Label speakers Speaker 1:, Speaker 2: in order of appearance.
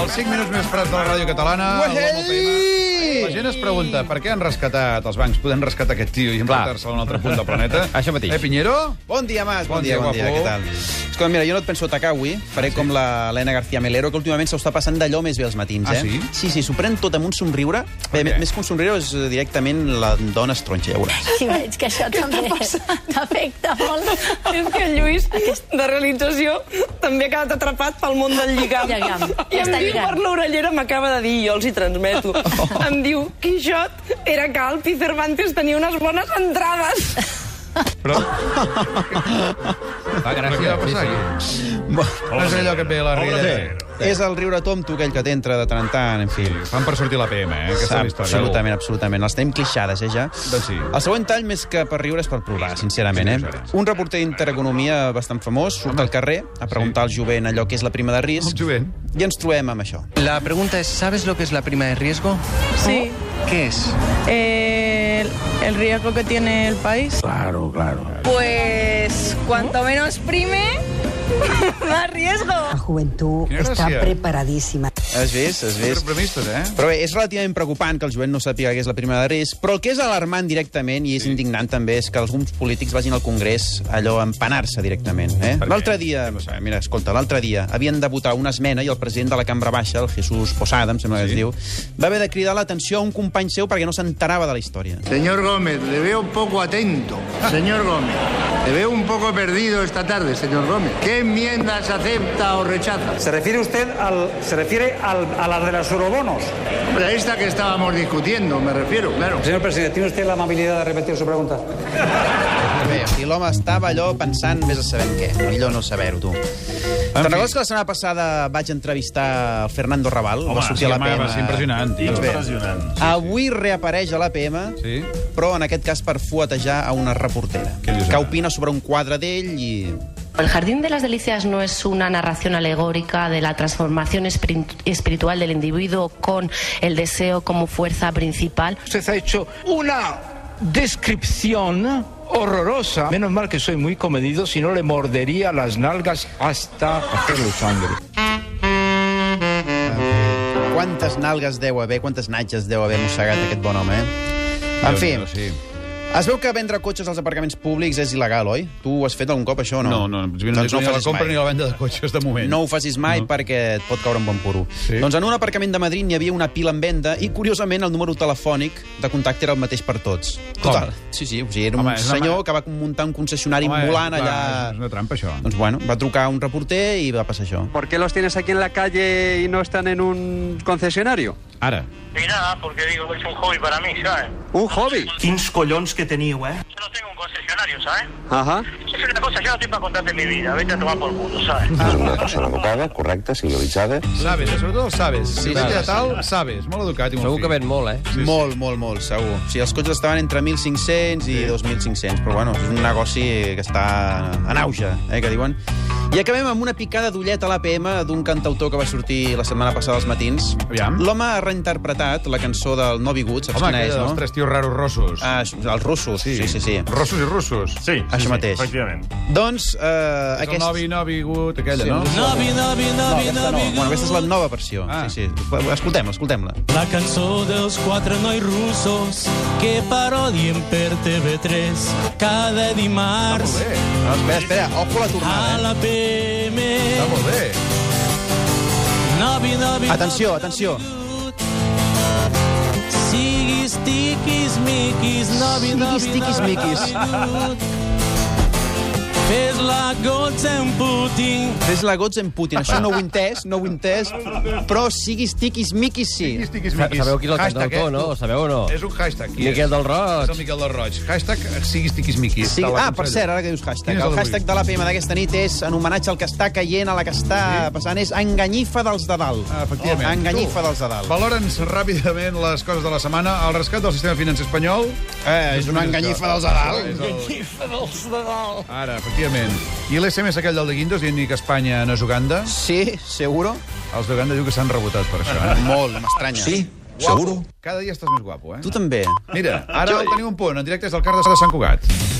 Speaker 1: Els 5 minuts més prats de la ràdio catalana...
Speaker 2: Ah,
Speaker 1: el bon tema. La gent es pregunta per què han rescatat els bancs, podem rescatar aquest tio i emportar-se'l a un altre punt del planeta.
Speaker 3: Això mateix.
Speaker 1: Eh, Pinheiro?
Speaker 2: Bon dia, Mas.
Speaker 1: Bon dia, guapo.
Speaker 2: Què tal? Escolta, mira, jo no et penso atacar avui. Faré com la Helena García Melero, que últimament s'ho està passant d'allò més bé als matins,
Speaker 1: Ah,
Speaker 2: eh?
Speaker 1: sí?
Speaker 2: Sí, sí, s'ho pren tot amb un somriure. Bé,
Speaker 1: què?
Speaker 2: més que un somriure és eh, directament la dona estronxa, ja veuràs.
Speaker 4: Sí, veig que això també t'afecta molt.
Speaker 5: És que el Lluís, de realització, també ha quedat atrapat pel món del lligam.
Speaker 4: Lligam.
Speaker 5: I em
Speaker 4: Està
Speaker 5: diu
Speaker 4: lligant.
Speaker 5: per l'orellera, m'acaba de dir, jo els hi transmeto, em diu, Quixot era calp i Cervantes tenia unes bones entrades.
Speaker 1: Però...
Speaker 3: Va, gràcies.
Speaker 1: Què va
Speaker 3: Sí,
Speaker 1: passar aquí?
Speaker 2: Bo,
Speaker 1: No és allò que et ve a la riera.
Speaker 2: és el riure tonto aquell que t'entra de tant en tant, en fi.
Speaker 1: Fan per sortir la PM, eh? Aquesta és la història.
Speaker 2: Absolutament, absolutament. Les tenim clixades, eh, ja?
Speaker 1: Doncs sí.
Speaker 2: El següent tall, més que per riure, és per plorar, sincerament,
Speaker 1: Sí,
Speaker 2: eh?
Speaker 1: sí.
Speaker 2: Un reporter d'Intereconomia bastant famós surt al carrer a preguntar al jovent allò que és la prima de
Speaker 1: El
Speaker 2: risc
Speaker 1: jovent.
Speaker 2: i ens trobem amb això.
Speaker 6: La pregunta es, ¿sabes lo que es la prima de riesgo?
Speaker 7: Sí,
Speaker 6: ¿Qué es?
Speaker 7: eh, el, el riesgo que tiene el país.
Speaker 5: Pues, cuanto menos prime, más riesgo.
Speaker 8: La juventud
Speaker 1: Quina
Speaker 8: está
Speaker 1: gràcia.
Speaker 8: preparadísima.
Speaker 2: Has vist? Has
Speaker 1: És...
Speaker 2: vist?
Speaker 1: Premistes, eh?
Speaker 2: Però bé, és relativament preocupant que el jovent no sàpiga què és la prima de risc, però el que és alarmant directament i és indignant també és que alguns polítics vagin al Congrés allò a empanar-se directament. Eh?
Speaker 1: Per què?
Speaker 2: L'altre dia, mira, escolta, l'altre dia havien de votar una esmena i el president de la Cambra Baixa, el Jesús Posada, em sembla que
Speaker 1: Sí.
Speaker 2: es diu, va haver de cridar l'atenció a un company seu perquè no s'enterava de la història.
Speaker 9: Señor Gómez, le veo poco atento. Señor Gómez, le veo un poco perdido esta tarde, señor Gómez. ¿Qué enmiendas acepta o rechaza?
Speaker 10: Se refiere usted al, se refiere al, a las de los eurobonos.
Speaker 9: Hombre, a esta que estábamos discutiendo, me refiero, claro.
Speaker 10: Señor presidente, ¿tiene usted la amabilidad de repetir su pregunta?
Speaker 2: Bé, o sigui, l'home estava allò pensant més a saber en què. Millor no saber-ho, tu. Te'n recordes que la setmana passada vaig entrevistar el Fernando Raval?
Speaker 1: Home,
Speaker 2: va sortir a
Speaker 1: sí, home,
Speaker 2: l'APM.
Speaker 1: va ser impressionant, tio.
Speaker 2: Doncs bé,
Speaker 1: Impressionant, sí,
Speaker 2: avui reapareix a l'APM,
Speaker 1: Sí.
Speaker 2: però en aquest cas per fuetejar a una reportera,
Speaker 1: Què dius,
Speaker 2: que
Speaker 1: ara?
Speaker 2: opina sobre un quadre d'ell i...
Speaker 7: El Jardín de las Delicias no es una narración alegórica de la transformación espiritual del individuo con el deseo como fuerza principal.
Speaker 6: Usted ha hecho una descripción horrorosa. Menos mal que soy muy comedido, si no le mordería las nalgas hasta hacerlo sangre.
Speaker 2: Quantes nalgues deu haver, quantes natges deu haver mossegat aquest bon home, eh? En fi,
Speaker 1: Déu-n'hi-do, sí.
Speaker 2: es veu que vendre cotxes als aparcaments públics és il·legal, oi? Tu ho has fet algun cop, això, o no?
Speaker 1: No, no, no, no,
Speaker 2: Doncs
Speaker 1: no
Speaker 2: ho
Speaker 1: ni la
Speaker 2: facis
Speaker 1: compra
Speaker 2: mai.
Speaker 1: ni la venda de cotxes, de moment.
Speaker 2: No ho facis mai
Speaker 1: No.
Speaker 2: no. perquè et pot caure un bon puro.
Speaker 1: Sí.
Speaker 2: Sí. Doncs en un aparcament de Madrid n'hi havia una pila en venda i, curiosament, el número telefònic de contacte era el mateix per tots.
Speaker 1: Com?
Speaker 2: Sí, sí, o sigui, era
Speaker 1: Home,
Speaker 2: Home, un
Speaker 1: és una
Speaker 2: senyor
Speaker 1: ma-
Speaker 2: que va muntar un concessionari
Speaker 1: Home,
Speaker 2: Home, volant
Speaker 1: clar,
Speaker 2: allà...
Speaker 1: És una trampa, això.
Speaker 2: Doncs bueno, va trucar un reporter i va passar això.
Speaker 10: ¿Por qué los tienes aquí en la calle y no están en un concesionario?
Speaker 1: Ara.
Speaker 9: Y nada, porque digo, es un hobby para mí, ¿sabes?
Speaker 10: Un hobby.
Speaker 6: Quins collons que teniu, eh?
Speaker 9: Yo no tengo un concesionario, ¿sabes?
Speaker 10: Ajá.
Speaker 9: Es una cosa, yo no estoy para contarte mi vida, vete a tomar por culo, ¿sabes?
Speaker 11: És una persona educada, correcta, civilitzada.
Speaker 1: Sabes, eh? sobretot els sabes. Si
Speaker 2: Sí,
Speaker 1: sí,
Speaker 2: sí,
Speaker 1: de tal, sabes. Molt educat i molt
Speaker 3: Segur
Speaker 1: fi.
Speaker 3: que ven molt, eh?
Speaker 2: Sí, molt, molt, molt, segur. O sigui, els cotxes estaven entre 1.500 i 2.500, però bueno, és un negoci que està en auge, eh, que diuen. I acabem amb una picada d'ullet a l'APM d'un cantautor que va sortir la setmana passada als matins.
Speaker 1: Aviam.
Speaker 2: L'home ha reinterpretat la cançó del No Vingut, saps
Speaker 1: Home,
Speaker 2: quina
Speaker 1: aquella
Speaker 2: és,
Speaker 1: dels
Speaker 2: no?
Speaker 1: tres tios raros rossos.
Speaker 2: Ah, els russos, sí, sí, sí. sí.
Speaker 1: Rossos i russos. Sí.
Speaker 2: Això mateix. Efectivament. Doncs, eh,
Speaker 1: És
Speaker 2: aquest...
Speaker 1: el novi, novi, gut, aquella,
Speaker 2: Sí,
Speaker 1: no?
Speaker 2: no.
Speaker 10: Novi, novi,
Speaker 2: No, aquesta no. Bueno, aquesta és la nova versió.
Speaker 1: Ah.
Speaker 2: Ah. Sí, sí. Escoltem-la, escoltem-la.
Speaker 10: La cançó dels quatre nois russos que parodien per TV3 cada dimarts
Speaker 1: Molt bé,
Speaker 2: No, espera, espera, ojo a la
Speaker 6: Ah,
Speaker 2: tornada, eh?
Speaker 10: la PM.
Speaker 1: està molt bé.
Speaker 10: Novi, novi,
Speaker 2: Atenció, atenció.
Speaker 10: Siguis tiquis, miquis, novi,
Speaker 2: Siguis tiquis miquis.
Speaker 10: Fes la gotza en Putin.
Speaker 2: Fes la gots en Putin. Això no ho he entès, no ho he entès. Però siguis tiquis miquis sí.
Speaker 1: Tiquis, tiquis,
Speaker 3: Sa-
Speaker 1: miquis.
Speaker 3: Sabeu qui és el
Speaker 1: Hashtag,
Speaker 3: cantautor,
Speaker 1: eh?
Speaker 3: no? Ho sabeu o no?
Speaker 1: És un hashtag. Qui
Speaker 3: Miquel
Speaker 1: és?
Speaker 3: del Roig.
Speaker 1: És el Miquel del Roig. Hashtag siguis tiquis miquis.
Speaker 2: Sí,
Speaker 1: Te la
Speaker 2: ah, per
Speaker 1: consello.
Speaker 2: cert, ara que dius hashtag.
Speaker 1: Quin és
Speaker 2: El
Speaker 1: d'avui?
Speaker 2: hashtag de l'APM d'aquesta nit és en homenatge al que està caient, a la que està passant, és enganyifa dels de dalt.
Speaker 1: Ah, efectivament.
Speaker 2: Oh, enganyifa
Speaker 1: Tu,
Speaker 2: dels de dalt.
Speaker 1: Valora'ns ràpidament les coses de la setmana. El rescat del sistema financer espanyol.
Speaker 2: Eh, és una enganyifa dels de
Speaker 1: És
Speaker 2: dalt.
Speaker 1: el- Ara, efectivament. I l'SMS aquell del de Guindos dient que Espanya no és Uganda.
Speaker 2: Sí, seguro.
Speaker 1: Els d'Uganda diu que s'han rebotat per això. Eh?
Speaker 2: Molt, m'estranya. Sí.
Speaker 1: Seguro. Cada dia estàs més guapo, eh?
Speaker 2: Tu també.
Speaker 1: Mira, ara tenim un punt. En directe és del car de Sant Cugat.